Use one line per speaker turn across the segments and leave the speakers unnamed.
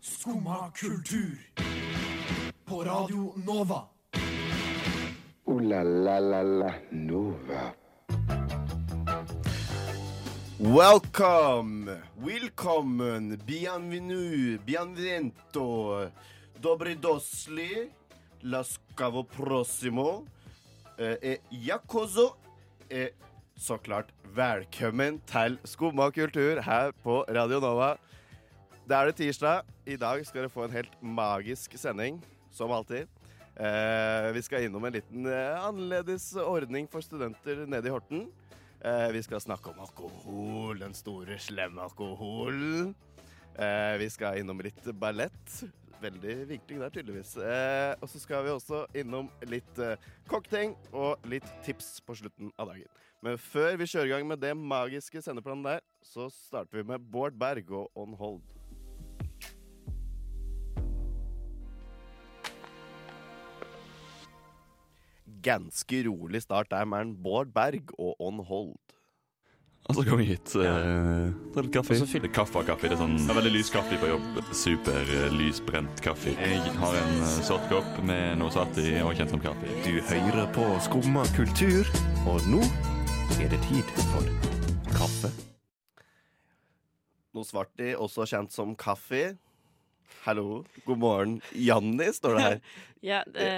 Skumma kultur. På Radio Nova.
Ooh la la la la Nova.
Welcome, welcome, bienvenue, bienvento, dobri dosli, laskavo prosimo, eh, eh, jakozo, eh, så klart velkommen til Skumma kultur her på Radio Nova. Da er det tirsdag. I dag skal dere få en helt magisk sending, som alltid. Eh, vi skal innom en liten eh, annerledes ordning for studenter nede i Horten. Eh, vi skal snakke om alkohol, den store, slemme alkoholen. Eh, vi skal innom litt ballett. Veldig vinkling der, tydeligvis. Eh, og så skal vi også innom litt eh, cocktail og litt tips på slutten av dagen. Men før vi kjører i gang med det magiske sendeplanen der, så starter vi med Bård Berg og On Hold. Ganske rolig start der med en Bård Berg og On Hold.
Og så kom jeg hit. Uh, ta litt kaffe.
Og så fyller kaffe av kaffe. Det er sånn det er veldig lys kaffe på jobb. Super eh, lysbrent kaffe. Jeg har en eh, sort kopp med noe satt i og kjent som kaffe. Du
Høyre på Skumma kultur, og nå er det tid for kaffe. Noe svart i, også kjent som kaffe. Hallo, god morgen. Janni står det her.
Ja, det,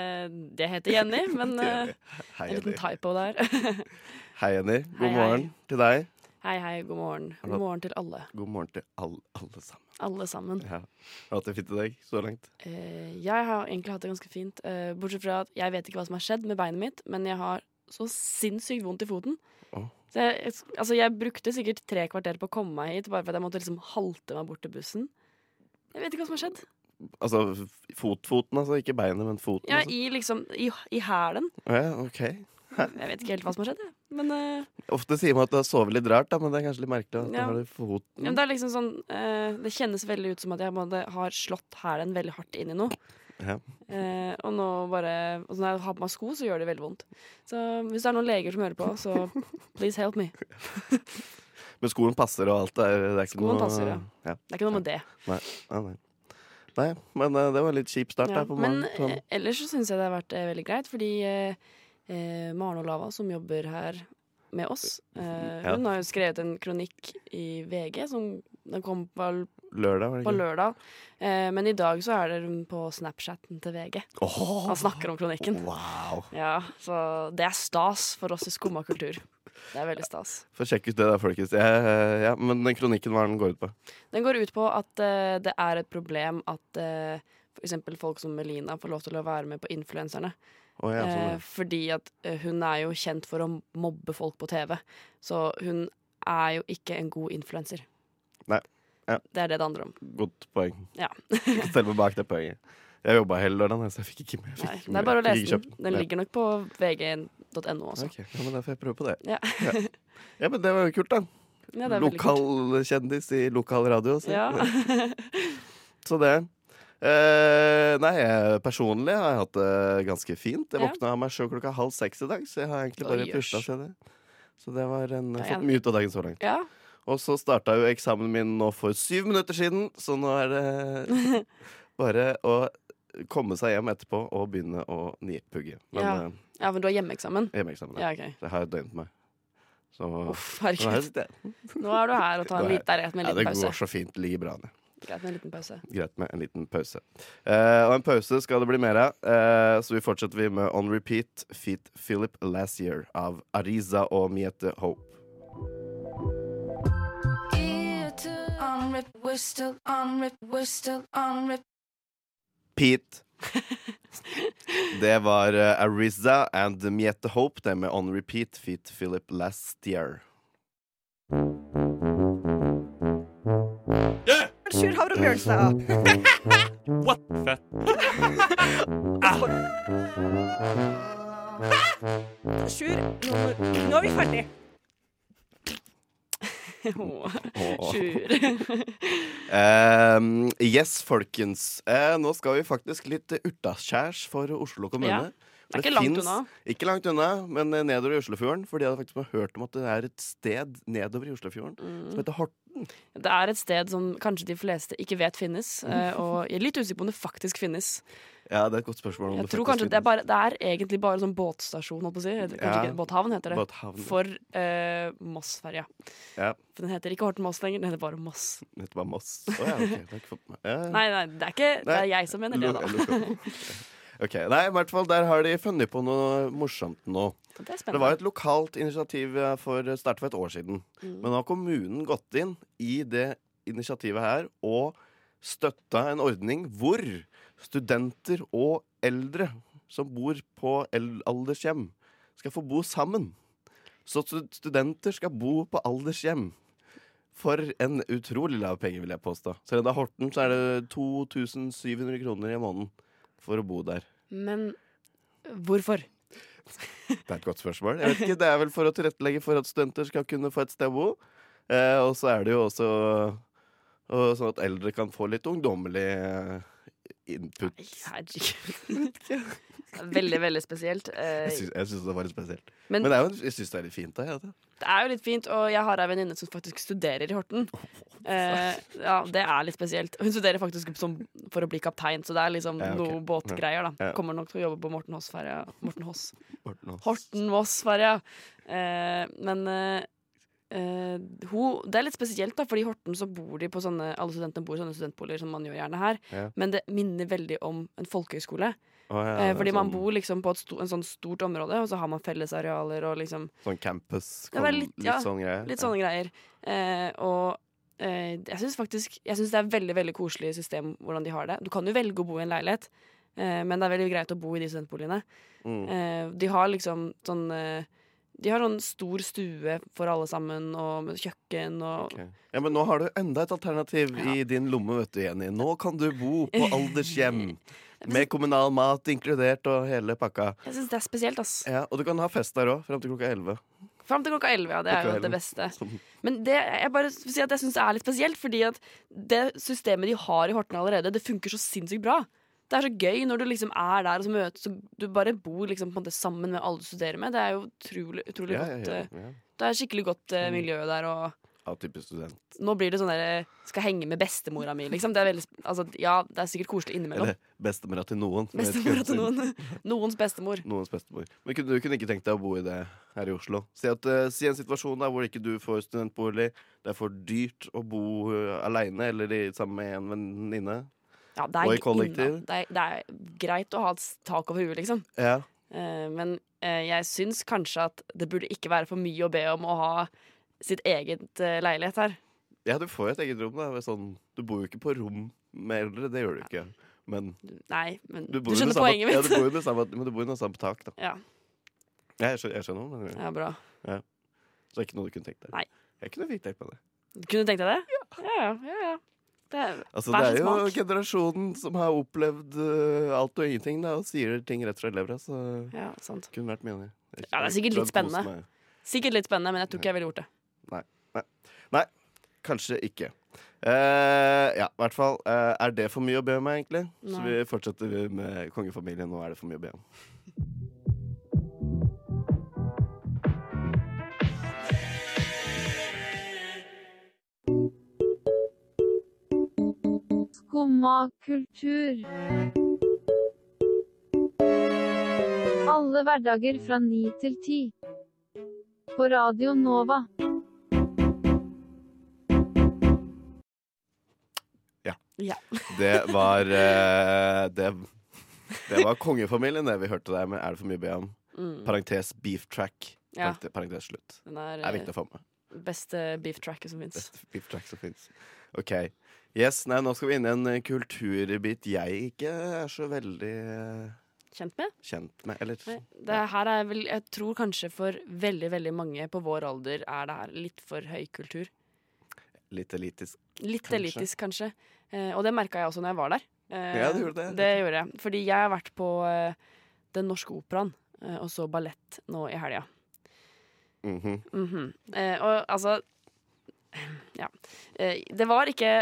det heter Jenny, men eh,
Hei,
en liten
Jenny.
typo der.
Hei, Jenny. God
Hei, hei.
morgen til deg.
Hei, hei, god morgen. God morgen til alle.
God morgen til alle, alle sammen.
Alle sammen.
Ja. Har du hatt det fint i dag så langt?
Eh, jeg har egentlig hatt det ganske fint, eh, bortsett fra at jeg vet ikke hva som har skjedd med beinet mitt, men jeg har så sinnssykt vondt i foten.
Åh.
Så jeg, altså, jeg brukte sikkert tre kvarter på å komme meg hit, bare for at jeg måtte liksom halte meg bort til bussen. Jeg vet ikke hva som har skjedd.
Altså f- fotfoten, altså. Ikke beinet, men foten.
Ja,
altså.
i liksom, i, i hælen.
ja, ok.
Jeg vet ikke helt hva som har skjedd, jeg. Men eh,
Ofte sier man at du har sovet litt rart, da, men det er kanskje litt merkelig at
Ja.
du har det i foten.
Ja, men det er liksom sånn eh, Det kjennes veldig ut som at jeg på en måte har slått hælen veldig hardt inn i noe.
Ja.
Eh, og nå bare og så Når jeg har på meg sko, så gjør det veldig vondt. Så hvis det er noen leger som hører på, så please help me. Det
Men skoen passer og alt. Det er, det er ikke
Skoen
noe
passer, ja.
ja.
er ikke noe med det.
Ah, nei. nei, men eh, det var litt kjip start
Ja.
der på
Men
morgenen. Sånn.
eh, ellers så syns jeg det har vært eh, veldig greit, fordi eh, eh, Maren Olava, som jobber her med oss, eh,
Ja.
hun har jo skrevet en kronikk i VG som den kom på,
Lørdag, var det
på
ikke?
lørdag. Eh, men i dag så er det hun på Snapchatten til VG.
Åh,
Han snakker om kronikken.
wow!
Ja, så det er stas for oss i Skumma kultur. Det er veldig stas.
Få sjekke ut det der, folkens. Jeg, eh, ja, men den kronikken, hva er den går ut på?
Den går ut på at eh, det er et problem at eh, for eksempel folk som Melina får lov til å være med på Influenserne.
Å, ja, sånn,
Eh, fordi at eh, hun er jo kjent for å mobbe folk på TV. Så hun er jo ikke en god influenser.
Nei. Ja.
Det er det det handler om.
ja. Godt poeng.
Ja.
Selv om bak det poenget. Jeg jobba hele lørdagen, så jeg fikk ikke med. jeg fikk
Nei,
ikke
det
med-
er bare å
fikk ikke
lese
kjøpt
den. Den
Ja.
ligger nok på vg.no også.
Ok, ja, men Da får jeg prøve på det.
Ja.
Ja, men Det var jo kult, da.
Ja, det er veldig kult.
lokal kjendis i lokal radio. Så,
Ja.
så det. Eh, nei, jeg- personlig har jeg hatt det ganske fint. Jeg
Ja.
våkna av meg sjøl klokka halv seks i dag, så jeg har egentlig
Oi,
bare
jøs.
pusha seg det. Så det var en,
Ja, ja.
fått mye ut av dagen så langt.
Ja,
Og så starta jo eksamen min nå for syv minutter siden, så nå er det bare å komme seg hjem etterpå og begynne å nipugge. Men
Ja.
eh,
ja, men du har hjemmeeksamen?
hjemmeeksamen, ja.
Ja, OK.
Det har jeg døgnet meg. Så
Uff,
nå her
herregud.
sitter jeg.
Nå er du her og tar en
Nå er-
liten, det er greit med
Ja,
en
det
liten
går
pause.
så fint. Det ligger bra an.
Greit med en liten pause.
greit med en liten pause. Eh, og en pause skal det bli mer av, eh, så vi fortsetter vi med On Repeat Feat Philip Last Year av Ariza og Miete Hope. Pete. Det var eh, Ariza and Miete Hope, det med On Repeat Feat Philip Last Year.
Sjur Havrebjørnstad.
What fett?
Sjur, nå, må- nå er vi ferdig.
Åh,
Åh.
Sjur.
Ehm, yes, folkens. Eh, nå skal vi faktisk litt utaskjærs for Oslo
Ja.
kommune.
Det er ikke langt
finnes-
unna.
Ikke langt unna,
Mm.
men eh, nedover i Oslofjorden. Fordi jeg hadde faktisk bare hørt om at det er et sted nedover i Oslofjorden som heter Horten. Midten?
Det er et sted som kanskje de fleste ikke vet finnes, eh, og jeg er litt usikker på om det faktisk finnes.
Ja, det er et godt spørsmål. om
Jeg
det
tror
faktisk
kanskje det er, bare, det er egentlig bare sånn båtstasjon, holdt på å si. Eller Kanskje
Ja.
ikke båthavn heter det.
Båthavn.
For eh, Moss-ferja.
Ja.
For den heter ikke Horten-Moss lenger, den heter bare Moss.
Det var Moss. Å ja, ok. Det har jeg ikke fått med meg. Ja.
Nei, nei, det er ikke Det
Nei.
er jeg som mener det,
Lu-
da.
jeg lukker opp. Ok, Nei, i hvert fall der har de funnet på noe morsomt nå.
Det er
Det var
spennende.
et lokalt initiativ eh, for snart for et år siden. Men nå har kommunen gått inn i det initiativet her og støtta en ordning hvor studenter og eldre som bor på el- aldershjem, skal få bo sammen. Så stu- studenter skal bo på aldershjem. For en utrolig lav penge, vil jeg påstå. Selv om det er Horten, så er det 2700 kroner i måneden for å bo der.
Men hvorfor?
Det er et godt spørsmål. Jeg vet ikke, Det er vel for å tilrettelegge for at studenter skal kunne få et sted å bo. Eh, og så er det jo også og sånn at eldre kan få litt ungdommelig eh, input.
Nei, Herregud. Veldig, veldig spesielt. Eh,
Jeg syns, jeg syns det var litt spesielt.
Men-
Men, det er jo, jeg syns det er litt fint. da, jeg,
Det er jo litt fint, og jeg har ei venninne som faktisk studerer i Horten. Eh, ja, Det er litt spesielt. Hun studerer faktisk som, for å bli kaptein, så det er liksom
Ja, ok.
noe båtgreier. da
Ja.
Kommer nok til å jobbe på Morten Hoss-ferja. Morten Hoss.
Horten også.
Horten Moss-ferja. Eh, men eh, eh, hun, det er litt spesielt, da, fordi i Horten så bor de på sånne alle studentene bor i sånne studentboliger som man gjør gjerne her.
Ja.
Men det minner veldig om en folkehøyskole.
Å, ja,
eh,
det er
fordi man
sånn-
bor liksom på et sto, en sånn stort område, og så har man fellesarealer og liksom
Sånn campus.
Ja, det er litt-
litt
ja,
sånn greie.
Litt sånne greier. Eh, og eh, jeg syns faktisk Jeg synes det er veldig veldig koselig system hvordan de har det. Du kan jo velge å bo i en leilighet, eh, men det er veldig greit å bo i de studentboligene.
Mm.
Eh, de har liksom sånn eh, De har sånn stor stue for alle sammen, og med kjøkken og
Ok. Ja, men nå har du enda et alternativ i din lomme, vet du, Jenny. Nå kan du bo på aldershjem. Med kommunal mat inkludert og hele pakka.
Jeg syns det er spesielt, ass.
Ja, og du kan ha fest der òg, fram til klokka 11.
Fram til klokka elleve, ja. Det er
På
jo det
kvelden.
beste.
Sånn.
Men det, jeg bare vil si at jeg syns det er litt spesielt, fordi at det systemet de har i Horten allerede, det funker så sinnssykt bra. Det er så gøy når du liksom er der og så møtes og du bare bor liksom på en måte sammen med alle du studerer med. Det er jo utrolig, utrolig
Ja,
godt
ja,
eh,
ja, ja.
Det er skikkelig godt eh, miljø der, og
Atypisk student.
nå blir det sånn der Skal henge med bestemora mi, liksom. Det er veldig, sp- altså, ja, det er sikkert koselig innimellom.
Eller bestemora til noen. Jeg vet ikke
Bestemora
hvem
til
som-
noen. Noens bestemor.
Noens bestemor. Men kunne, du kunne ikke tenkt deg å bo i det her i Oslo? Si, at, eh, si en situasjon der hvor ikke du får studentbolig, det er for dyrt å bo eh, alene eller i, sammen med en venninne.
Ja, det er,
Og i
inna-
kollektiv.
Det, er, det er greit å ha et s- tak over huet, liksom.
Ja.
Eh, men eh, jeg syns kanskje at det burde ikke være for mye å be om å ha sitt eget eh, leilighet her.
ja, du får jo et eget rom. Da. ved Sånn, du bor jo ikke på rom med eldre, det gjør du ikke. Men
Nei, men du,
du bor jo
skjønner
under samme-
poenget
Ja, du
mitt.
bor jo under samme, men du bor jo under samme tak, da.
Ja,
Ja, Jeg skjønner, jeg skjønner hva du mener.
ja, bra.
Så det er ikke noe du kunne tenkt deg.
Nei.
Jeg kunne virkelig tenkt meg det.
Kunne du tenkt deg det? Ja, ja. ja, ja. Det er,
Altså,
Hver
det er
sin
jo
smak.
generasjonen som har opplevd eh, alt og ingenting da, og sier ting rett fra levra. Så det
ja, sant.
kunne vært mye enig.
Ja, det er sikkert litt spennende. Sikkert litt spennende, men jeg tror ikke jeg ville gjort det.
Kanskje ikke. Eh, ja, i hvert fall. eh, er det for mye å be om, egentlig? Så
Nei.
vi fortsetter med kongefamilien. Nå er det for mye å be om.
Skumma kultur. Alle hverdager fra 9 til 10. På Radio Nova.
Ja.
Det var eh, det, det var kongefamilien, det vi hørte der med Er det for mye å be om?
Mm.
Parentes beef track.
Ja.
Parentes, parentes slutt.
Den er
Det er
eh,
viktig å få med.
beste beef tracket som fins.
Beste beef track som finnes. Ok. Yes, nei, nå skal vi inn i en eh, kulturbit jeg ikke er så veldig eh,
Kjent med?
kjent med. Eller
Nei, det her er vel Jeg tror kanskje for veldig, veldig mange på vår alder er det her litt for høykultur.
litt elitisk.
Litt
Kanskje.
elitisk, kanskje. Eh, og det merka jeg også når jeg var der. Eh,
Ja, du gjorde det.
gjorde jeg. Fordi jeg har vært på eh, Den norske operaen eh, og så ballett nå i helga.
Mhm.
Mhm. eh, og altså Ja. Eh, det var ikke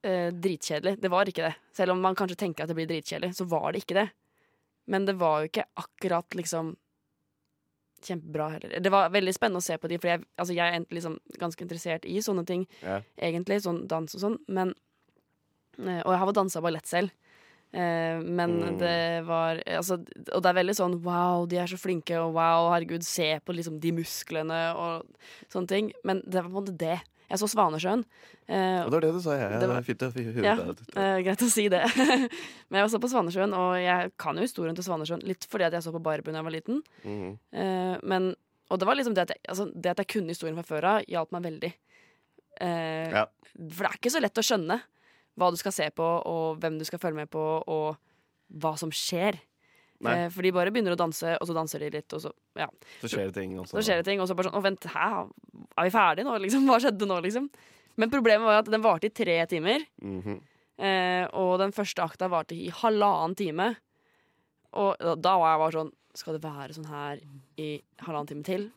eh, dritkjedelig. Det var ikke det. Selv om man kanskje tenker at det blir dritkjedelig, så var det ikke det. Men det var jo ikke akkurat liksom kjempebra heller. Det var veldig spennende å se på de, for jeg, altså, jeg er egentlig liksom ganske interessert i sånne ting,
Ja.
egentlig. Sånn dans og sånn. Men, eh, og jeg har dansa ballett selv. Eh, men
Mm.
det var altså, Og det er veldig sånn wow, de er så flinke, og wow, herregud, se på liksom de musklene og sånne ting. Men det var på en måte det. Jeg så Svanesjøen. Eh,
Og det var det du sa, jeg.
Det var-
Fitte, fi- hu-
ja,
det-
eh, greit å si det. Men jeg var så på Svanesjøen, og jeg kan jo historien til Svanesjøen litt fordi at jeg så på Barbie da jeg var liten.
Mhm.
Eh, men, og det var liksom det at jeg, altså, det at jeg kunne historien fra før av, hjalp meg veldig. Eh,
Ja.
For det er ikke så lett å skjønne hva du skal se på, og hvem du skal følge med på, og hva som skjer.
Nei.
Eh, for de bare begynner å danse, og så danser de litt, og så, ja.
Så skjer det ting.
så skjer det ting. Og så bare sånn Å, vent, hæ? Er vi ferdige nå, liksom? Hva skjedde nå, liksom? Men problemet var jo at den varte i tre timer.
Mhm.
Eh, og den første akta varte i halvannen time. Og da, da var jeg bare sånn Skal det være sånn her i halvannen time til?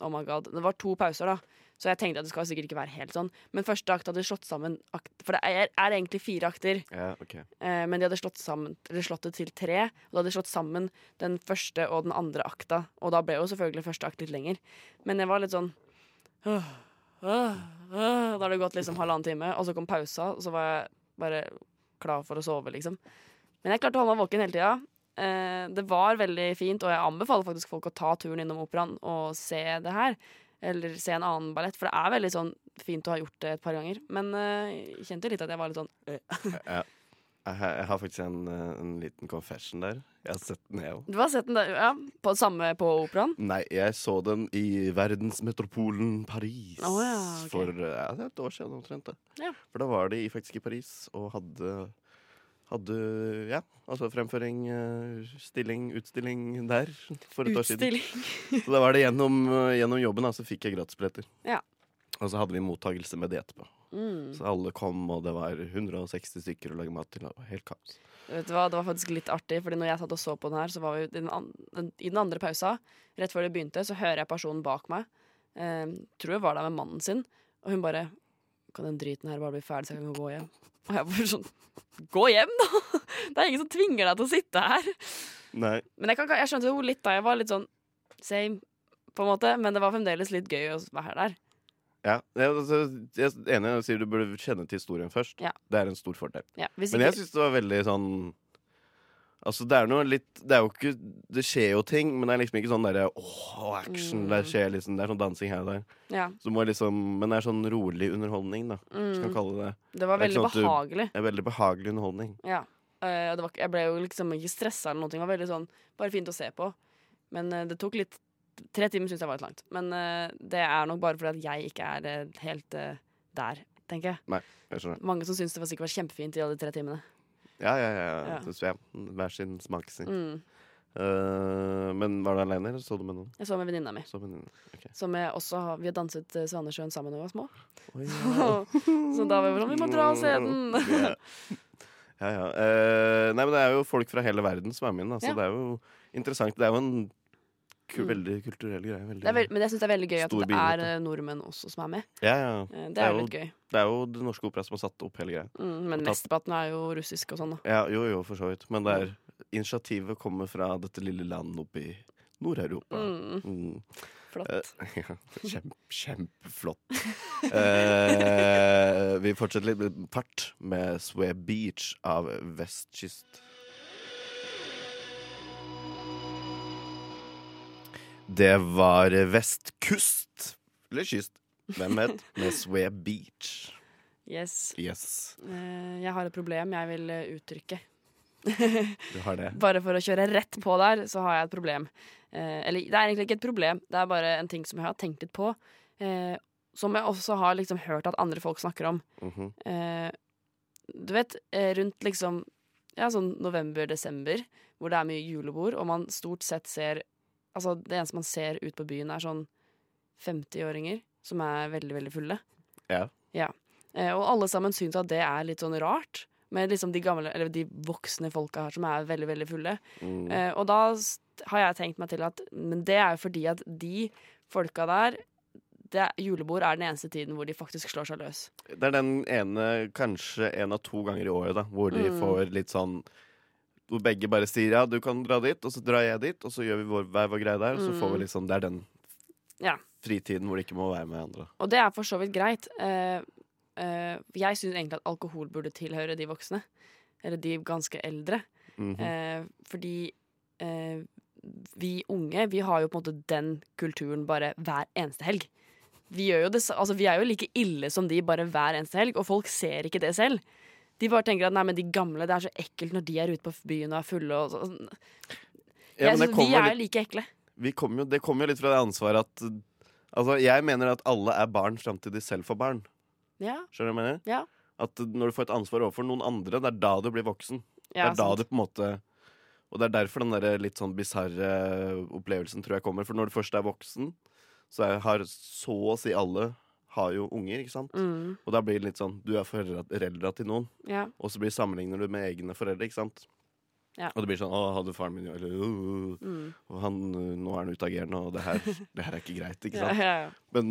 Oh my god. Det var to pauser, da. Så jeg tenkte at det skal sikkert ikke være helt sånn. Men første akt hadde slått sammen akt, For det er, er egentlig fire akter,
Ja, ok.
eh, men de hadde slått, sammen, eller slått det til tre. Og da hadde de slått sammen den første og den andre akta. Og da ble jo selvfølgelig første akt litt lenger. Men jeg var litt sånn «Åh, åh, åh». Da hadde det gått liksom halvannen time, og så kom pausa, og så var jeg bare klar for å sove, liksom. Men jeg klarte å holde meg våken hele tida. Eh, det var veldig fint, og jeg anbefaler faktisk folk å ta turen innom operaen og se det her. Eller se en annen ballett, for det er veldig sånn fint å ha gjort det et par ganger. Men eh, jeg kjente litt at jeg var litt sånn øh.
Jeg, har- jeg har faktisk en, eh, en liten confession der. Jeg har sett den, jeg òg.
Du har sett den der, ja? På, samme på operaen?
Nei, jeg så den i verdensmetropolen Paris
Å ja, ok.
for eh, ja, det er et år siden omtrent. det.
Ja.
For da var de faktisk i Paris og hadde hadde ja, altså fremføring, eh, stilling, utstilling der for et år siden.
Utstilling.
Så da var det gjennom, eh, gjennom jobben, da, så fikk jeg gratisbilletter.
Ja.
Og så hadde vi mottagelse med det etterpå.
Mm.
Så alle kom, og det var 160 stykker å lage mat til. og Det var helt kaos.
Vet du hva, Det var faktisk litt artig, Fordi når jeg satt og så på den her, så var vi i den, an den, i den andre pausa, rett før det begynte, så hører jeg personen bak meg, eh, tror jeg var der med mannen sin, og hun bare Kan den driten her bare bli ferdig, så jeg kan gå hjem? Og jeg bare sånn Gå hjem, da! Det er ingen som tvinger deg til å sitte her.
Nei.
Men jeg, kan, jeg skjønte jo litt da jeg var litt sånn same, på en måte, men det var fremdeles litt gøy å være der.
Ja, jeg, altså, jeg er enig jeg sier du burde kjenne til historien først.
Ja.
Det er en stor fordel.
Ja, hvis
Men
ikke,
jeg syns det var veldig sånn Altså, det er noe litt Det er jo ikke Det skjer jo ting, men det er liksom ikke sånn derre åh, action.
Mm.
Der skjer liksom Det er sånn dansing her og der.
ja,
Så du må liksom Men det er sånn rolig underholdning, da. Hvis man
mm,
kan kalle det det.
det var
det er ikke
veldig
sånn at du-
behagelig.
det. er Veldig behagelig underholdning.
Ja. Eh, og det var, ikke- jeg ble jo liksom ikke stressa eller noe. Det var veldig sånn Bare fint å se på. Men eh, det tok litt Tre timer syns jeg var litt langt. Men eh, det er nok bare fordi at jeg ikke er eh, helt eh, der, tenker jeg.
Jeg skjønner.
Mange som syns det var sikkert var kjempefint i alle de tre timene.
Ja, ja, ja. ja.
Ja.
Så- så ja. Hver sin smak sin.
Mm.
Eh, men var du aleine, eller så du med noen?
Jeg så med venninna mi,
Så med noen. Ok.
som jeg også har Vi har danset eh, Svanesjøen sammen da vi var små.
Oi,
Så da var vi sånn Vi må dra og se den!
Ja. Mm, ja, ja. Eh, nei, men det er jo folk fra hele verden som er med inn, da, så
Ja.
det er jo interessant. Det er jo en ku
Mm.
veldig kulturell greie. Veldig.
Det er vel- men jeg syns det er veldig gøy at
Stor
det
begivenhet,
er
da.
eh, nordmenn også som er med.
ja, ja.
Eh, Det
Det er
er jo
jo-
litt gøy.
Det er jo Det Norske Opera som har satt opp hele greia.
Mm, men
tatt-
mesteparten er jo russisk og sånn, da.
Ja, jo, jo, for så vidt. Men det er initiativet kommer fra dette lille landet oppe i Nord-Europa.
Mm,
Mm.
flott.
Ja, kjempe, kjempeflott. Eh, vi fortsetter litt med fart med Sway Beach av Vestkyst. Det var Vestkust, eller kyst, hvem vet, med Sway Beach.
Yes.
Yes,
Eh, Jeg har et problem jeg vil eh, uttrykke.
du har det.
Bare for å kjøre rett på der, så har jeg et problem. Eh, Eller det er egentlig ikke et problem, det er bare en ting som jeg har tenkt litt på. eh, Som jeg også har liksom hørt at andre folk snakker om.
Mhm.
Eh, Du vet, eh, rundt liksom ja, sånn november-desember, hvor det er mye julebord, og man stort sett ser Altså, det eneste man ser ut på byen, er sånn 50-åringer som er veldig, veldig fulle.
Ja.
Eh, Og alle sammen syns at det er litt sånn rart. Med liksom de gamle, eller de voksne folka her som er veldig veldig fulle.
Mm.
Eh, og da s- har jeg tenkt meg til at Men det er jo fordi at de folka der det, Julebord er den eneste tiden hvor de faktisk slår seg løs.
Det er den ene, kanskje en av to ganger i året, da, hvor de
Mm.
får litt sånn hvor begge bare sier ja, du kan dra dit, og så drar jeg dit, og så gjør vi vår, hver vår greie der, og så
Mm.
får vi liksom Det er den
Ja.
fritiden hvor det ikke må være med andre.
Og det er for så vidt greit. Eh, eh, jeg syns egentlig at alkohol burde tilhøre de voksne. Eller de ganske eldre.
Mhm.
Eh, fordi eh, vi unge, vi har jo på en måte den kulturen bare hver eneste helg. Vi, gjør jo det, sa- altså, vi er jo like ille som de bare hver eneste helg, og folk ser ikke det selv. De bare tenker at nei, men de gamle, det er så ekkelt når de er ute på byen og er fulle. Og sånn.
Ja,
jeg
men det
synes, vi
kommer
er
litt,
like ekle.
vi kommer jo, det kommer jo litt fra det ansvaret at uh, Altså, jeg mener at alle er barn fram til de selv får barn.
Ja,
Skjønner du hva jeg mener?
Ja.
At uh, når du får et ansvar overfor noen andre, det er da du blir voksen.
ja,
det er da
sant.
du på en måte Og det er derfor den der litt sånn bisarre opplevelsen tror jeg kommer. For når du først er voksen, så er, har så å si alle har jo unger, ikke sant?
Mm,
Og da blir det litt sånn Du er foreldra foreldra til noen,
ja.
og så blir sammenligner du med egne foreldre, ikke sant?
Ja.
Og det blir sånn 'Å, hadde faren min jo Eller «Åh,
Mm.
og han, øh, 'Nå er han utagerende, og det her, det her er ikke greit', ikke
Ja,
sant?
ja, ja.
Men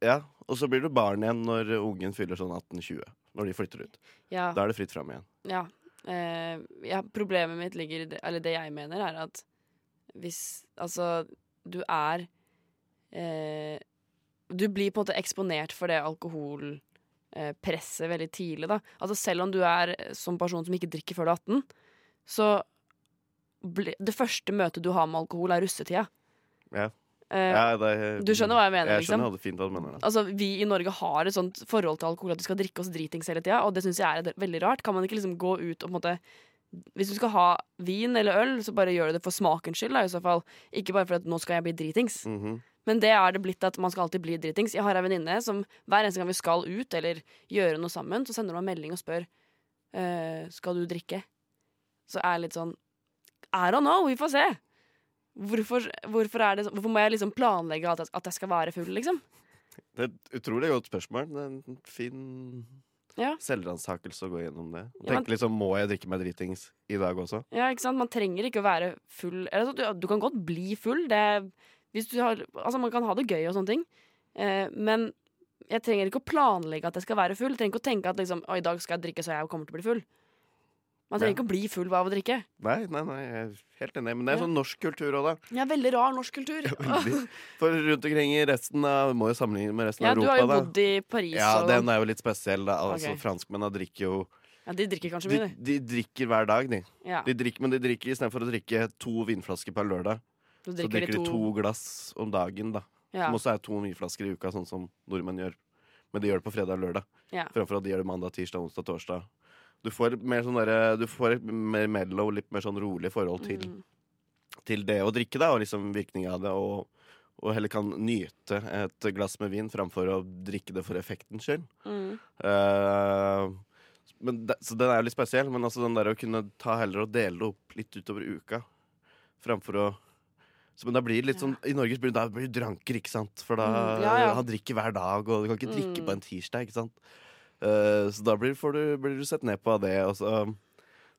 Ja. Og så blir du barn igjen når ungen fyller sånn 18-20. Når de flytter ut.
ja.
Da er det fritt fram igjen.
Ja. Eh, ja. Problemet mitt ligger i det, Eller det jeg mener, er at hvis Altså, du er eh, Du blir på en måte eksponert for det alkoholpresset veldig tidlig, da. Altså selv om du er eh, som person som ikke drikker før du er 18, så bli, Det første møtet du har med alkohol, er russetida.
Ja.
Eh,
Ja, det,
Du skjønner hva jeg mener,
Jeg skjønner hva
liksom?
du fint hva du mener. da.
Altså, Vi i Norge har et sånt forhold til alkohol at vi skal drikke oss dritings hele tida, og det syns jeg er et- veldig rart. Kan man ikke liksom gå ut og på en måte Hvis du skal ha vin eller øl, så bare gjør du det for smakens skyld, da, i så fall. Ikke bare for at nå skal jeg bli dritings.
Mhm.
Men det er det blitt at man skal alltid bli dritings. Jeg har ei venninne som hver eneste gang vi skal ut eller gjøre noe sammen, så sender hun meg en melding og spør eh, Skal du drikke. Så er jeg litt sånn I don't know, vi får se. Hvorfor, hvorfor, er det, så- hvorfor må jeg liksom planlegge at jeg, at jeg skal være full, liksom?
Det er et utrolig godt spørsmål. Det er en fin
Ja.
selvransakelse å gå gjennom det. Og
Ja, men-
tenke liksom, Må jeg drikke meg dritings i dag også?
Ja, ikke sant? Man trenger ikke å være full. Eller, altså, du, du kan godt bli full. Det, er- hvis du har, altså, man kan ha det gøy og sånne ting. Eh, men jeg trenger ikke å planlegge at jeg skal være full. Jeg trenger ikke å tenke at liksom, «Å, i dag skal jeg drikke, så jeg kommer til å bli full. Man trenger
Ja.
ikke å bli full av å drikke.
Nei, nei, nei, jeg er helt enig. Men det er
Ja.
sånn norsk kultur òg, da.
Det er veldig rar norsk kultur.
Veldig. For rundt omkring i resten av vi Må jo sammenligne med resten
Ja,
av
du
Europa,
har jo
da.
bodd i Paris,
ja,
og
den er jo litt spesiell, da. Altså,
Ok.
Franskmennene drikker jo
ja, de drikker kanskje
de,
mye,
de drikker hver dag, de.
de. Ja,
de drikker, men de drikker istedenfor å drikke to vinflasker per lørdag,
så
så drikker de to glass om dagen, da.
Ja.
Som også er to vinflasker i uka, sånn som nordmenn gjør. Men de gjør det på fredag og lørdag.
Ja.
Framfor at de gjør det mandag, tirsdag, onsdag, torsdag. Du får, mer sånn derre- du får et mer mellow, litt mer sånn rolig forhold til,
Mm.
til det å drikke, da, og liksom virkninga av det. Og, og heller kan nyte et glass med vin framfor å drikke det for effektens skyld.
Mm.
Eh, men de, så den er jo litt spesiell, men altså den der å kunne ta heller og dele det opp litt utover uka framfor å så, men da blir det litt sånn, I Norge så blir det, da blir det dranker, ikke sant? For da
Mm, ja, ja.
Han drikker hver dag, og du kan ikke drikke
Mm.
på en tirsdag. ikke sant? Eh, så da blir, får du, blir du sett ned på av det. Og så,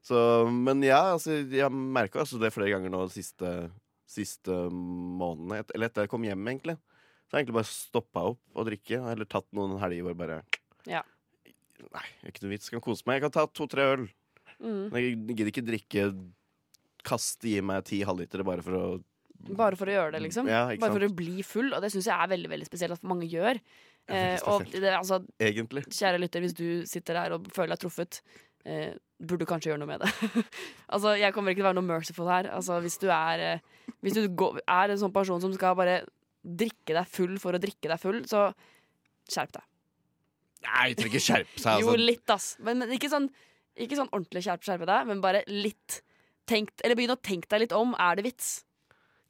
så, men ja, altså, jeg merka altså, det flere ganger nå de siste, siste månedene. et- Eller etter jeg kom hjem, egentlig. Så har jeg egentlig bare stoppa opp å drikke, eller tatt noen helger hvor jeg bare
Ja.
Nei, det er ikke noe vits. Jeg kan kose meg. Jeg kan ta to-tre øl.
Mm.
Men jeg gidder ikke drikke Kaste i meg ti halvlitere bare for å
Bare for å gjøre det, liksom.
Ja, ikke
Bare for
sant?
å bli full, og det syns jeg er veldig veldig spesielt at mange gjør.
Ja, veldig
Eh, og
spesielt.
det, altså,
Egentlig.
kjære lytter, hvis du sitter der og føler deg truffet, eh, burde du kanskje gjøre noe med det. altså, Jeg kommer ikke til å være noe merciful her. Altså, Hvis du er eh, Hvis du går, er en sånn person som skal bare drikke deg full for å drikke deg full, så skjerp deg.
Nei, jeg trenger ikke skjerpe seg.
Jo,
Altså.
litt, ass. Men, men ikke, sånn, ikke sånn ordentlig skjerp skjerpe deg, men bare litt. Tenk, eller begynn å tenke deg litt om. Er det vits?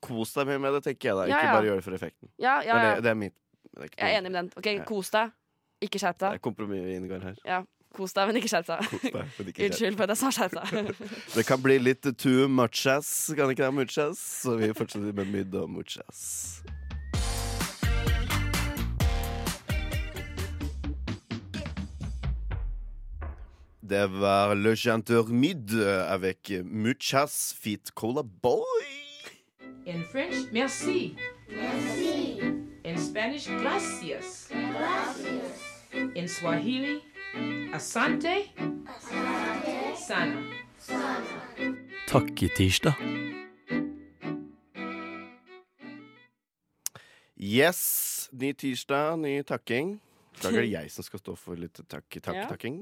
Kos deg mye med det, tenker jeg da. Ikke
Ja, ja.
bare gjøre det for effekten.
Ja, ja,
Det,
ja.
er det, det er mitt det er ikke
Jeg er
noe-
enig med den. Ok,
Ja.
Kos deg. Ikke skjerp
Det
deg.
er kompromiss vi inngår her.
Kos deg, men ikke skjerp deg.
Kos deg, men ikke skjerp.
Unnskyld for at jeg sa skjerp deg.
Det kan bli litt too much ass, kan ikke det? Much ass. Så vi fortsetter med mid og much ass. Det var Le Chanteur Mid avec Muchas Fit Cola Boy.
In French, merci. Merci. In Spanish, gracias. Gracias. In Swahili, asante. Asante. Sana.
Takketirsdag.
Yes, ny tirsdag, ny takking. I dag er det jeg som skal stå for litt takk, takk,
Ja.
takking.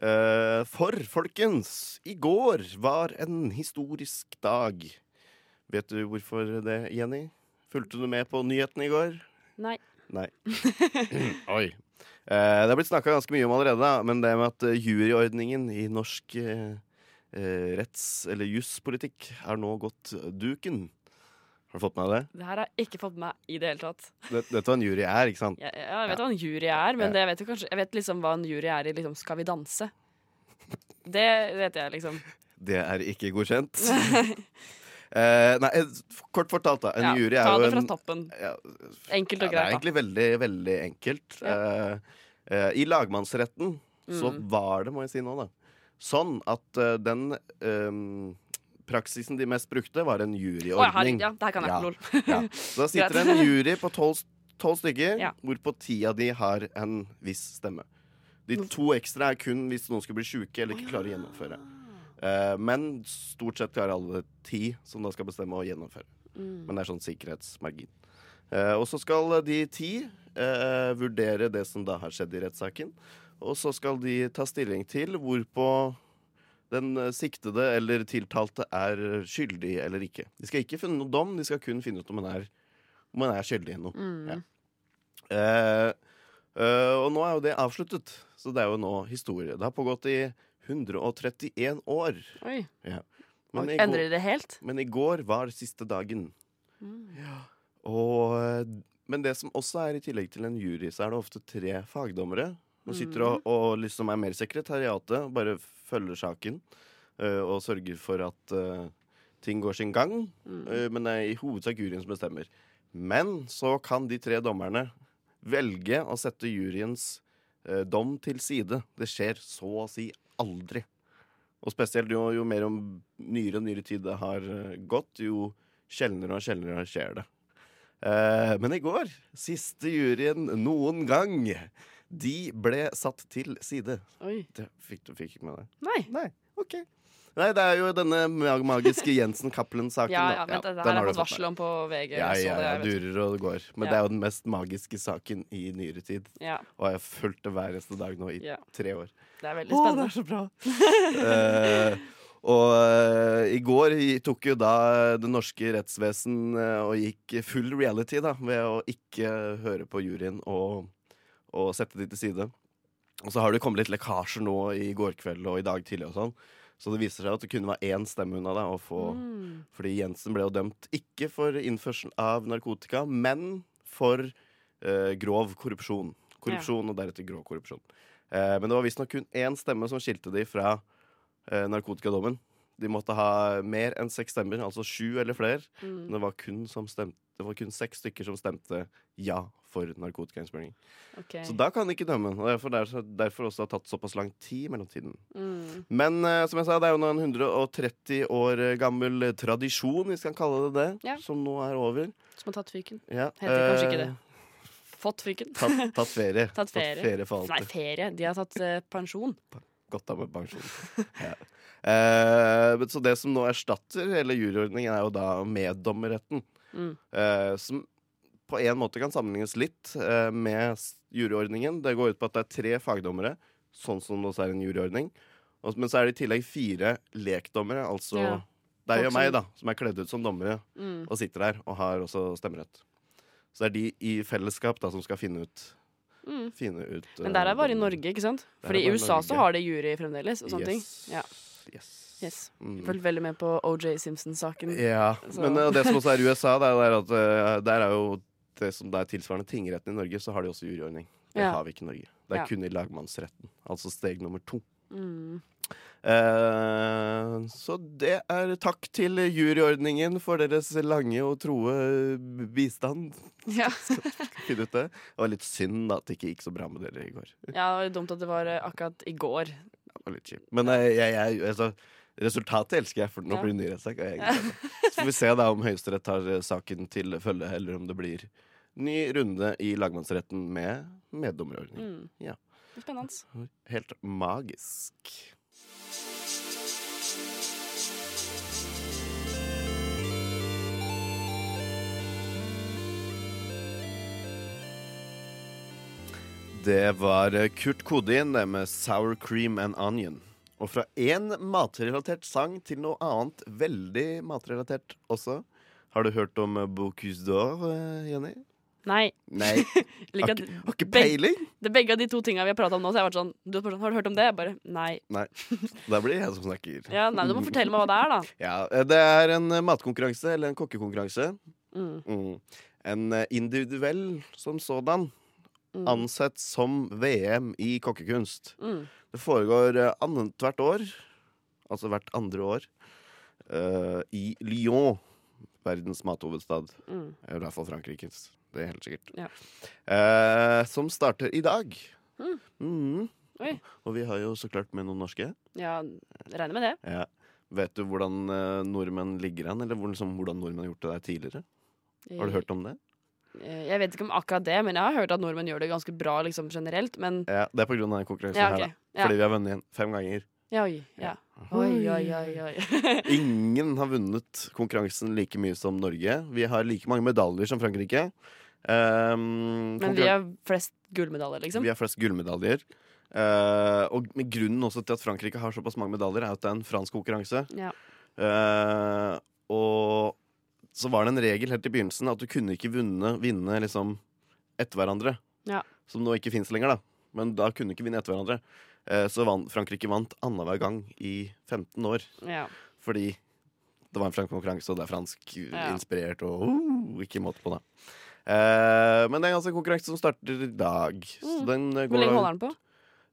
Eh, for, folkens, i går var en historisk dag. Vet du hvorfor det, Jenny? Fulgte du med på nyhetene i går?
Nei.
Nei. Oi. Eh, det har blitt snakka ganske mye om allerede, da, men det med at eh, juryordningen i norsk eh, eh, retts- eller juspolitikk er nå gått duken. Har du fått med deg det?
Det her har jeg ikke fått med meg i det hele tatt.
det? Dette er hva en jury er, ikke sant?
Jeg, jeg, jeg vet hva en jury er, men det, jeg, vet jo kanskje, jeg vet liksom hva en jury er i liksom Skal vi danse. Det vet jeg, liksom.
Det er ikke godkjent. Eh, nei, eh, kort fortalt, da. En
Ja,
jury er
ta
jo
det fra
en
toppen.
Ja,
Enkelt
ja, det
og
er
greit, da.
egentlig veldig, veldig enkelt. Eh, eh, I lagmannsretten så
Mm.
var det, må jeg si nå, da, sånn at eh, den ehm, praksisen de mest brukte, var en juryordning.
Å, jeg har- ja, det her kan jeg, lol.
ja. Så da sitter
Greit.
det en jury på tolv tolv stykker,
Ja.
hvorpå ti av de har en viss stemme. De to ekstra er kun hvis noen skulle bli sjuke eller ikke klarer å gjennomføre.
Ah.
Eh, men stort sett klarer alle ti som da skal bestemme å gjennomføre.
Mm.
Men det er sånn sikkerhetsmargin. Eh, og så skal de ti eh, vurdere det som da har skjedd i rettssaken. Og så skal de ta stilling til hvorpå den eh, siktede eller tiltalte er skyldig eller ikke. De skal ikke finne noen dom, de skal kun finne ut om han er, om han er skyldig i noe.
Mm.
Ja. Eh, eh, og nå er jo det avsluttet, så det er jo nå historie. Det har pågått i 131 år.
Oi.
Ja.
Oi,
i
endrer
går-
de det helt?
Men i går var siste dagen.
Mm.
Og, eh, men det som også er i tillegg til en jury, så er det ofte tre fagdommere. Som sitter og, og liksom er mer sekretariatet, bare følger saken eh, og sørger for at eh, ting går sin gang. eh, men det er i hovedsak juryen som bestemmer. Men så kan de tre dommerne velge å sette juryens eh, dom til side. Det skjer så å si aldri. Og spesielt jo, jo mer om nyere og nyere tid det har eh, gått, jo sjeldnere og sjeldnere skjer det. Eh, men i går, siste juryen noen gang, de ble satt til side.
Oi.
Det fikk du fikk ikke med deg.
Nei.
ok. Nei, det er jo denne mag- magiske Jensen Cappelen-saken.
Ja,
da.
ja, men det,
den
det her har
du fått med.
jeg fått varsel om på VG.
Ja,
jeg så
ja,
det,
ja,
jeg vet.
durer og det går. Men
Ja.
det er jo den mest magiske saken i nyere tid.
Ja.
Og jeg har fulgt det hver eneste dag nå i
Ja.
tre år.
Det er veldig
Å,
spennende.
Eh, og eh, i går i- tok jo da det norske rettsvesen eh, og gikk full reality da, ved å ikke høre på juryen og, og sette de til side. Og så har det kommet litt lekkasjer nå i går kveld og i dag tidlig og sånn. Så det viser seg at det kunne være én stemme unna da, å få,
Mm.
fordi Jensen ble jo dømt ikke for innførsel av narkotika, men for eh, grov korrupsjon. Korrupsjon og deretter grov korrupsjon. Eh, men det var visstnok kun én stemme som skilte de fra eh, narkotikadommen. De måtte ha mer enn seks stemmer, altså sju eller flere.
Mm.
Men det var, kun som stemte, det var kun seks stykker som stemte ja for narkotikainnspørring.
Ok.
Så da kan de ikke dømme. Og derfor, derfor, derfor også har det tatt såpass lang tid i mellomtiden.
Mm.
Men eh, som jeg sa, det er jo nå en 130 år gammel tradisjon, hvis vi kan kalle det det,
Ja.
som nå er over.
Som har tatt fyken.
Ja,
Heter det kanskje
eh,
ikke det. Fått fyken.
Tatt, tatt ferie.
Tatt ferie.
for
Nei,
alltid.
ferie. De har tatt eh, pensjon.
Godt av med pensjon. ja. Eh, men så det som nå erstatter hele juryordningen, er jo da meddommerretten.
Mm.
eh, som på en måte kan sammenlignes litt eh, med s- juryordningen. Det går ut på at det er tre fagdommere, sånn som det også er en juryordning. Og, men så er det i tillegg fire lekdommere, altså
Ja.
deg
Folk
og meg,
som-
da, som er kledd ut som dommere
Mm.
og sitter der og har også stemmerett. Så det er de i fellesskap da, som skal finne ut
Mm.
Finne ut
Men der
eh,
er bare i
dommerne.
Norge, ikke sant?
Der er
Fordi i
bare
USA så
Norge.
har det jury fremdeles, og
Yes.
sånne ting. Ja.
Yes. Mm.
Følg veldig med på OJ Simpson-saken.
Ja,
Så-
men eh, det som også er i USA, det er det er at eh, der er jo det som det er tilsvarende tingretten i Norge, så har de også juryordning. Det
Ja.
har vi ikke i Norge. Det er
Ja.
kun i lagmannsretten. Altså steg nummer to.
Mm.
Eh, så det er takk til juryordningen for deres lange og troe bistand.
Ja.
Finne ut det. Det var litt synd da, at det ikke gikk så bra med dere i går.
ja, det var dumt at det var eh, akkurat i går.
Det var litt kjipt. Men eh, jeg, jeg, altså, resultatet elsker jeg, for nå
Ja.
blir det ny rettssak. og jeg gleder meg. Så får vi se da om Høyesterett tar eh, saken til følge, eller om det blir ny runde i lagmannsretten med meddommerordning.
Mm.
Ja.
Det er Spennende.
Helt magisk. Det var Kurt Kodin det med Sour Cream and Onion. Og fra én matrelatert sang til noe annet veldig matrelatert også. Har du hørt om Bocuse d'Or, eh, Jenny?
Nei.
Nei.
Like
Har
at,
ikke- har ikke
beg-
peiling.
det er begge av de to tinga vi har prata om nå, så jeg har vært sånn, du har, bare sånn, har du hørt om det? Jeg bare nei.
Nei. Da blir det jeg som snakker.
Ja, nei.
Mm.
Du må fortelle meg hva det er, da.
Ja, eh, Det er en eh, matkonkurranse, eller en kokkekonkurranse.
Mm.
Mm. En eh, individuell som sådan.
Mm.
Ansett som VM i kokkekunst.
Mm.
Det foregår eh, annethvert år, altså hvert andre år, eh, i Lyon. Verdens mathovedstad.
Mm.
I hvert fall Frankrikes. Det er helt sikkert.
Ja.
Eh, som starter i dag.
Mm.
Mhm.
Oi.
Og vi har jo så klart med noen norske.
Ja, regner med det.
Ja. Vet du hvordan eh, nordmenn ligger an, eller hvor- liksom, hvordan nordmenn har gjort det der tidligere? Har du hørt om det?
Eh, Jeg vet ikke om akkurat det, men jeg har hørt at nordmenn gjør det ganske bra liksom, generelt. Men
Ja, Det er på grunn av den konkurransen
ja,
her,
ok.
da.
Ja.
Fordi vi har vunnet igjen fem ganger.
Ja, oi, ja. Oi, oi, oi, oi.
Ingen har vunnet konkurransen like mye som Norge. Vi har like mange medaljer som Frankrike. Ehm,
Men vi har flest gullmedaljer, liksom.
vi har flest gullmedaljer. Eh, og med grunnen også til at Frankrike har såpass mange medaljer, er at det er en fransk konkurranse.
Ja.
Eh, og så var det en regel helt i begynnelsen at du kunne ikke vunne, vinne liksom etter hverandre.
Ja.
Som nå ikke fins lenger, da. Men da kunne du ikke vinne etter hverandre. Eh, så vant, Frankrike vant annenhver gang i 15 år.
Ja.
Fordi det var en fransk konkurranse, og det er fransk eh,
Ja.
inspirert og uh, ikke måte på, da. Eh, men det er altså en konkurranse som starter i dag. Så
Mm.
den eh,
Hvor
går
lenge holder den på?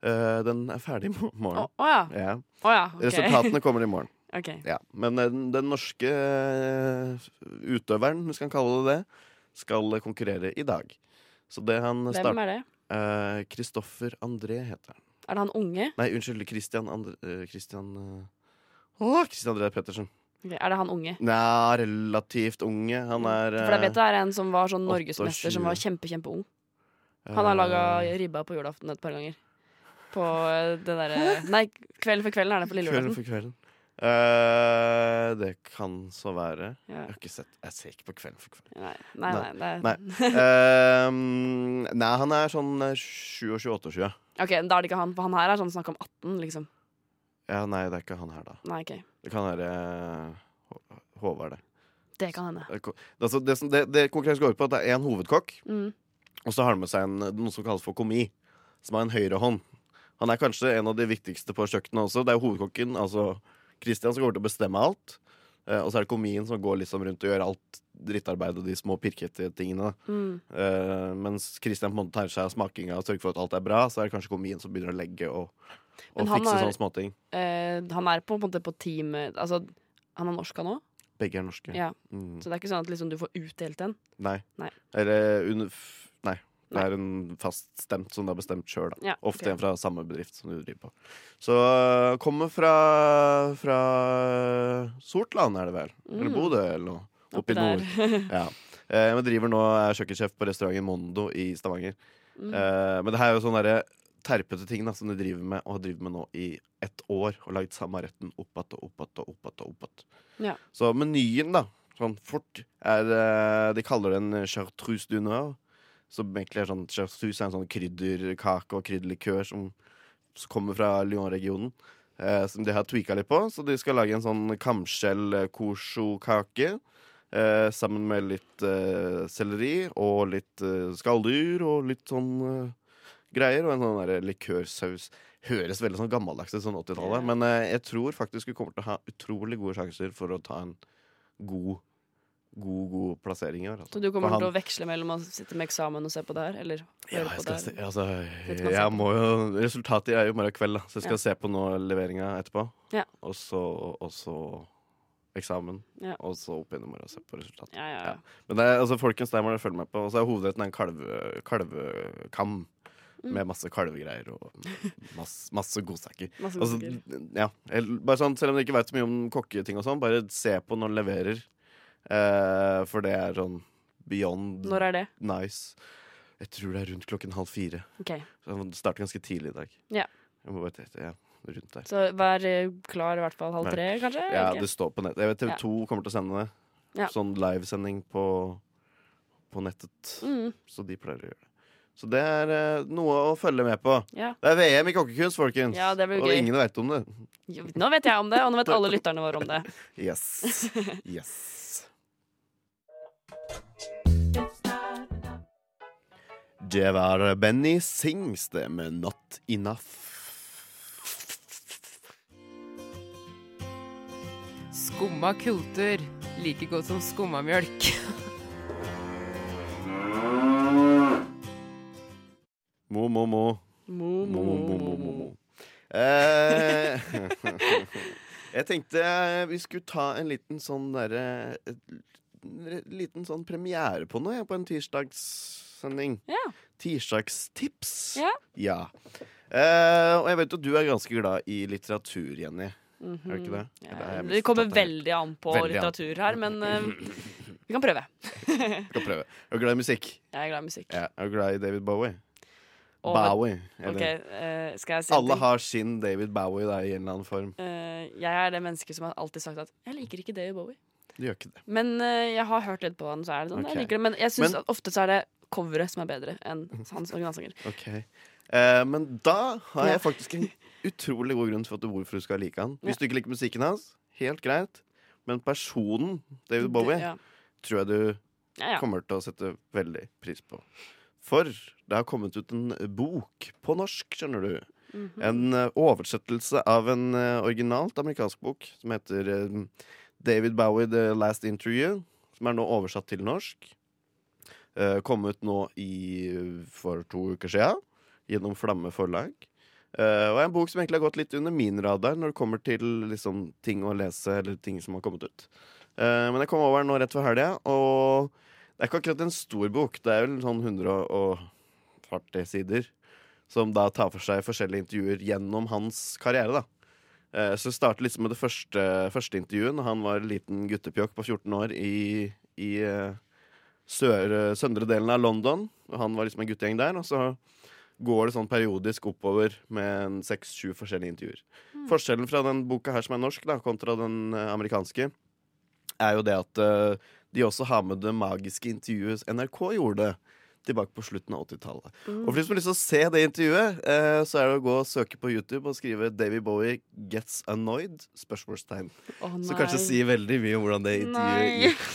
Eh, Den er ferdig i mo-
Å
morgen.
å ja.
Ja.
Å ja. ok.
Resultatene kommer i morgen.
Ok.
Ja. Men den, den norske eh, utøveren, hvis vi kan kalle det det, skal konkurrere i dag. Så det han
Hvem
starter
er det?
Kristoffer André heter han.
Er det han unge?
Nei, unnskyld. Christian André Christian, eh, Åh, Christian André Pettersen.
Ok, Er det han unge?
Nei, relativt unge. Han er
Mm. For jeg vet det er en som var sånn
28.
norgesmester som var kjempe, kjempeung. Han
Eh.
har laga ribba på julaften et par ganger. På eh, det derre Nei, Kveld for kvelden er det på lille
Kvelden
julaften.
for kvelden. Eh, det kan så være.
Ja.
Jeg har ikke sett Jeg ser ikke på Kvelden for kvelden.
Nei, nei, nei, det
Nei. Eh, nei, han er sånn 27-28.
er Ok, Da er det ikke han, for han her er sånn snakk om 18, liksom.
Ja, nei, det er ikke han her, da.
Nei, ok.
Det kan være eh, Hå- Håvard, det.
Det kan hende.
Det, er ko- altså, det, som, det, det konkurransen går ut på, er at det er én hovedkokk,
Mm.
og så har han med seg en, noe som kalles for komi, som er en høyrehånd. Han er kanskje en av de viktigste på kjøkkenet også. Det er jo hovedkokken, altså Christian, som kommer til å bestemme alt. Eh, og så er det komien som går liksom rundt og gjør alt drittarbeidet og de små pirkete tingene.
Mm.
Eh, mens Christian på en måte tar seg av smakinga og sørger for at alt er bra, så er det kanskje komien som begynner å legge og,
Men
og
han
fikse
har-
sånne småting.
Eh, han er på, på en måte på team eh, Altså, han er norsk han òg,
Begge er norske.
Ja.
Mm.
så det er ikke sånn at liksom, du får utdelt en.
Nei.
Nei.
Eller under... f- Nei. Det
Nei.
er en faststemt som det er bestemt sjøl, da.
Ja,
Ofte
ok.
en fra samme bedrift som du driver på. Så øh, kommer fra, fra eh, Sortland, er det vel? Eller
Mm.
Bodø, eller noe. Oppi
Oppi
nord.
der.
Ja. Eh, men driver nå er kjøkkensjef på restauranten Mondo i Stavanger.
Mm.
Eh, men det her er jo sånne derre terpete ting da, som de driver med, og har drevet med nå i ett år. Og lagd samme retten opp igjen og opp igjen og opp igjen. og opp att.
Ja.
Så menyen, da, sånn fort, er eh, De kaller det en chartreuse du nord. Som egentlig er sånn chartreuse er en sånn krydderkake og krydderlikør som, som kommer fra Lyon-regionen. Eh, som de har tweaka litt på. Så de skal lage en sånn kamskjell-kosjo-kake. Eh, sammen med litt eh, selleri og litt eh, skalldyr og litt sånn eh, greier. Og en sånn der likørsaus. Høres veldig sånn gammeldags ut, sånn 80-tallet.
Ja.
Men eh, jeg tror faktisk vi kommer til å ha utrolig gode sjanser for å ta en god, god, god plassering i år. altså.
Så du kommer
For han-
til å veksle mellom å sitte med eksamen og se på det her, eller
ja,
høre
jeg
på
skal
det
se,
her?
altså,
Litt man
jeg
ser på.
må jo, resultatet er jo i morgen kveld, da, så jeg skal
Ja.
se på nå leveringa etterpå.
Ja.
Og så, og så eksamen,
Ja.
og så opp igjen i morgen og se på resultatet.
Ja, ja, ja.
Men det er, altså, folkens, der må dere følge med på. Og så er hovedretten en kalve, kalvekam
Mm.
med masse kalvegreier og masse, masse godsaker.
Masse
Altså,
godsaker.
ja, el- bare sånn, selv om dere ikke vet så mye om kokketing og sånn, bare se på når den leverer. Eh, for det er sånn beyond
Når er det?
nice. Jeg tror det er rundt klokken halv fire.
Ok,
Så han starter ganske tidlig i dag.
Ja.
Jeg må bare tette, ja, rundt der.
Så vær eh, klar i hvert fall halv
Vær-
tre, kanskje?
Ja,
Ok.
det står på nettet. Jeg vet TV
Ja.
2 kommer til å sende det.
Ja.
Sånn livesending på, på nettet.
Mm.
Så de pleier å gjøre det. Så det er eh, noe å følge med på.
Ja.
Det er VM i kokkekunst, folkens.
Ja, det blir
og
gøy.
ingen veit om det.
Jo, Nå vet jeg om det, og nå vet alle lytterne våre om det.
Yes. Yes. Det var Benny Sings det med Not Enough.
Skumma kultur. Like godt som skumma mjølk.
Mo, mo, mo.
Mo,
Mo, mo, mo, mo, mo. Eh, jeg tenkte vi skulle ta en liten sånn derre en Liten sånn premiere på noe, jeg, på en tirsdagssending.
Ja.
Tirsdagstips.
Ja.
Ja. Eh, og jeg vet jo du er ganske glad i litteratur, Jenny. Er du ikke det? Eller har
Mhm. Mm. Ja,
jeg
Det kommer
misforstått det?
veldig an på
Veldig an.
litteratur her, men eh, vi kan prøve.
Skal prøve. Er du glad i musikk?
Jeg er glad i musikk.
Ja. Er du glad i David Bowie?
Og-
Bowie. Eller?
Ok, eh, skal jeg si en
Alle
ting?
har sin David Bowie da, i en eller annen form.
Eh, jeg er det mennesket som har alltid sagt at 'jeg liker ikke David Bowie'.
Du gjør ikke det.
Men eh, jeg har hørt litt på han, så er det sånn.
Ok.
Jeg liker det. Men jeg synes
Men-
at ofte så er det coveret som er bedre enn hans originalsanger.
Ok Eh, Men da har
Ja.
jeg faktisk en utrolig god grunn for at du, hvorfor du skal like han. Hvis du ikke liker musikken hans, helt greit. Men personen David Bowie
Ja.
tror jeg du
Ja, ja.
kommer til å sette veldig pris på. For det har kommet ut en bok på norsk, skjønner du.
Mhm.
En eh, oversettelse av en eh, originalt amerikansk bok som heter eh, David Bowie The Last Interview, som er nå oversatt til norsk. Eh, Kom ut nå i, for to uker siden gjennom Flamme forlag. Eh, og er en bok som egentlig har gått litt under min radar når det kommer til liksom, ting å lese eller ting som har kommet ut. Eh, men jeg kom over den nå rett før helga, og det er ikke akkurat en stor bok. Det er vel sånn 140 sider. Som da tar for seg forskjellige intervjuer gjennom hans karriere, da. Eh, Så det starter liksom med det første, første intervjuet når han var en liten guttepjokk på 14 år i, i eh, sør, eh, søndre delen av London. Og han var liksom en guttegjeng der. Og så går det sånn periodisk oppover med en seks-sju forskjellige intervjuer. Forskjellen fra den boka her som er norsk, da, kontra den eh, amerikanske, er jo det at eh, de også har med det magiske intervjuet NRK gjorde tilbake på slutten av 80-tallet. Og for de som har lyst til å se det intervjuet, eh, så er det å gå og søke på YouTube og skrive 'Davy Bowie gets annoyed?' spørsmålstegn.
Å,
Så
nei.
kanskje sier veldig mye om hvordan det intervjuet
Nei.
gikk.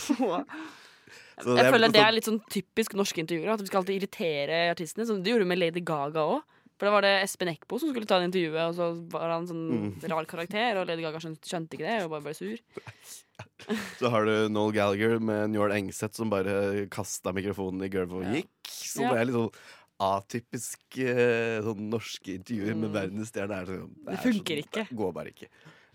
Så
Jeg
er
føler det
sånn-
er litt sånn typisk norske intervjuer. At vi skal alltid irritere artistene. Som de gjorde med Lady Gaga òg. For da var det Espen Eckbo som skulle ta det intervjuet, og så var han sånn
Mm.
rar karakter, og Lady Gaga skjønte, skjønte ikke det, og bare ble sur.
Så har du Noel Gallagher med Njål Engseth som bare kasta mikrofonen i gulvet og gikk. Så
Ja.
det er litt sånn atypisk eh, sånn norske intervjuer med verdensstjerne. er sånn-
Mm. Det
er
funker
sånn-
ikke.
Det går bare ikke.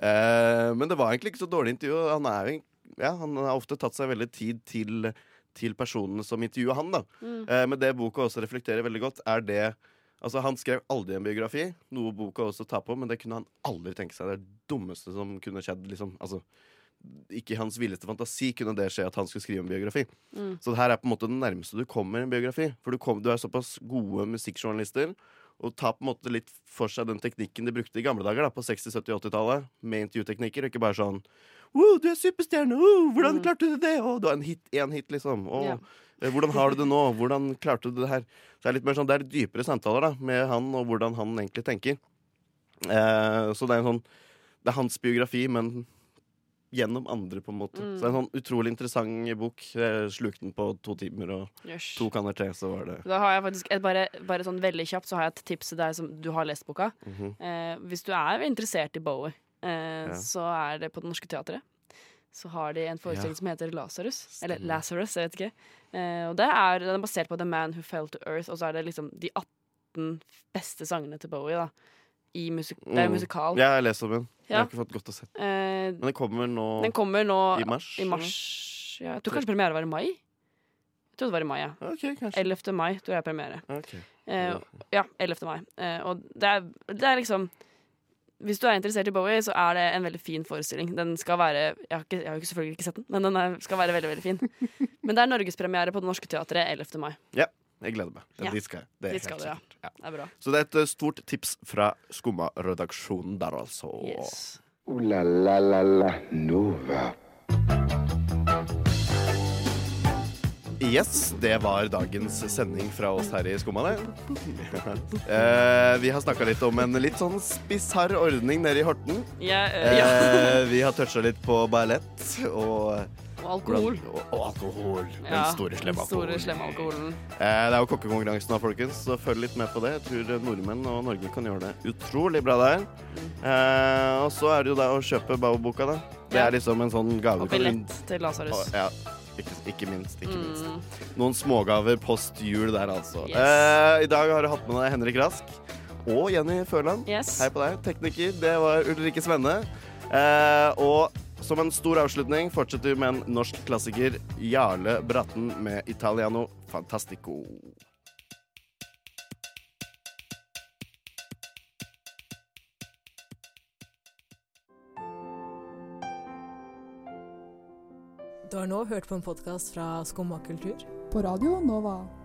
Eh, men det var egentlig ikke så dårlig intervju. og Han, er, jo en- ja, han har ofte tatt seg veldig tid til, til personene som intervjuer han. Da.
Mm.
Eh, men det boka også reflekterer veldig godt, er det Altså, Han skrev aldri en biografi, noe boka også tar på, men det kunne han aldri tenke seg. Det er det dummeste som kunne skjedd. liksom, altså ikke i hans villeste fantasi kunne det skje at han skulle skrive en biografi. Så det her er på en måte det nærmeste du kommer en biografi. For du, kom, du er såpass gode musikkjournalister og tar på en måte litt for seg den teknikken de brukte i gamle dager, da, på 60-, 70-, 80-tallet, med intervjuteknikker, og ikke bare sånn Wow, du er superstjerne! Wow, hvordan klarte du det? Å, du har en hit, en hit, liksom. Å,
Ja.
eh, Hvordan har du det nå? Hvordan klarte du det her? Så det er litt mer sånn, det er litt dypere samtaler da, med han og hvordan han egentlig tenker. Eh, så det er en sånn Det er hans biografi, men gjennom andre, på en måte.
Mm.
Så det er en sånn utrolig interessant bok. Jeg slukte den på to timer og
Jøss.
to kanner te, så var det
Da har jeg faktisk et, bare, bare sånn veldig kjapt Så har jeg et tips til deg som du har lest boka.
mhm.
eh, hvis du er interessert i Bowie, eh, så er det på Det Norske Teatret. Så har de en forestilling som heter Lazarus. Eller Lazarus, jeg vet ikke. Eh, og det er, den er basert på The Man Who Fell to Earth, og så er det liksom de 18 beste sangene til Bowie, da. I musik Det er jo
Mm.
musikal.
Jeg har lest om den. Jeg
Ja.
har ikke fått godt å se den.
Eh,
Men den kommer nå
den kommer nå
i mars.
i mars. Ja, jeg tror kanskje premiere var i mai. Jeg trodde det var i mai, ja.
eller? Ok, kanskje.
11. mai tror jeg er premiere.
Ok.
Eh,
Ja.
ja, 11. mai. Eh, og det er, det er liksom Hvis du er interessert i Bowie, så er det en veldig fin forestilling. Den skal være Jeg har, ikke, jeg har jo selvfølgelig ikke sett den, men den er, skal være veldig veldig fin. Men det er norgespremiere på Det Norske Teatret 11. mai.
Ja, jeg gleder meg.
Ja.
Dit skal jeg. Det er
Dit skal
helt
du, ja.
sikkert. Ja.
Det er bra.
Så det er et eh, stort tips fra Skumma-redaksjonen der, altså.
Yes.
Ooh la la la la Nova.
Yes, det var dagens sending fra oss her i Skumma, det. Eh, vi har snakka litt om en litt sånn bisarr ordning nede i Horten.
Ja, eh, ja.
Eh, vi har toucha litt på ballett og
Og alkohol.
Og, og alkohol.
Ja,
den store, slemme
den store,
alkoholen.
slemme alkoholen.
Eh, det er jo kokkekonkurransen nå, folkens, så følg litt med på det. Jeg tror nordmenn og Norge kan gjøre det utrolig bra der. Eh, og så er det jo da å kjøpe Bao-boka, da. Det er liksom en sånn gave.
Og billett til Lasarus.
Ja, ikke, ikke minst. Ikke minst.
Mm.
Noen smågaver post jul der, altså.
Yes.
Eh, I dag har du hatt med deg Henrik Rask og Jenny Førland.
Yes.
Hei på deg. Tekniker, det var Ulrikke Svenne. Eh, og som en stor avslutning fortsetter vi med en norsk klassiker, Jarle Bratten med 'Italiano Fantastico'.
Du har nå hørt på en podkast fra Skumma kultur. På radio Nova.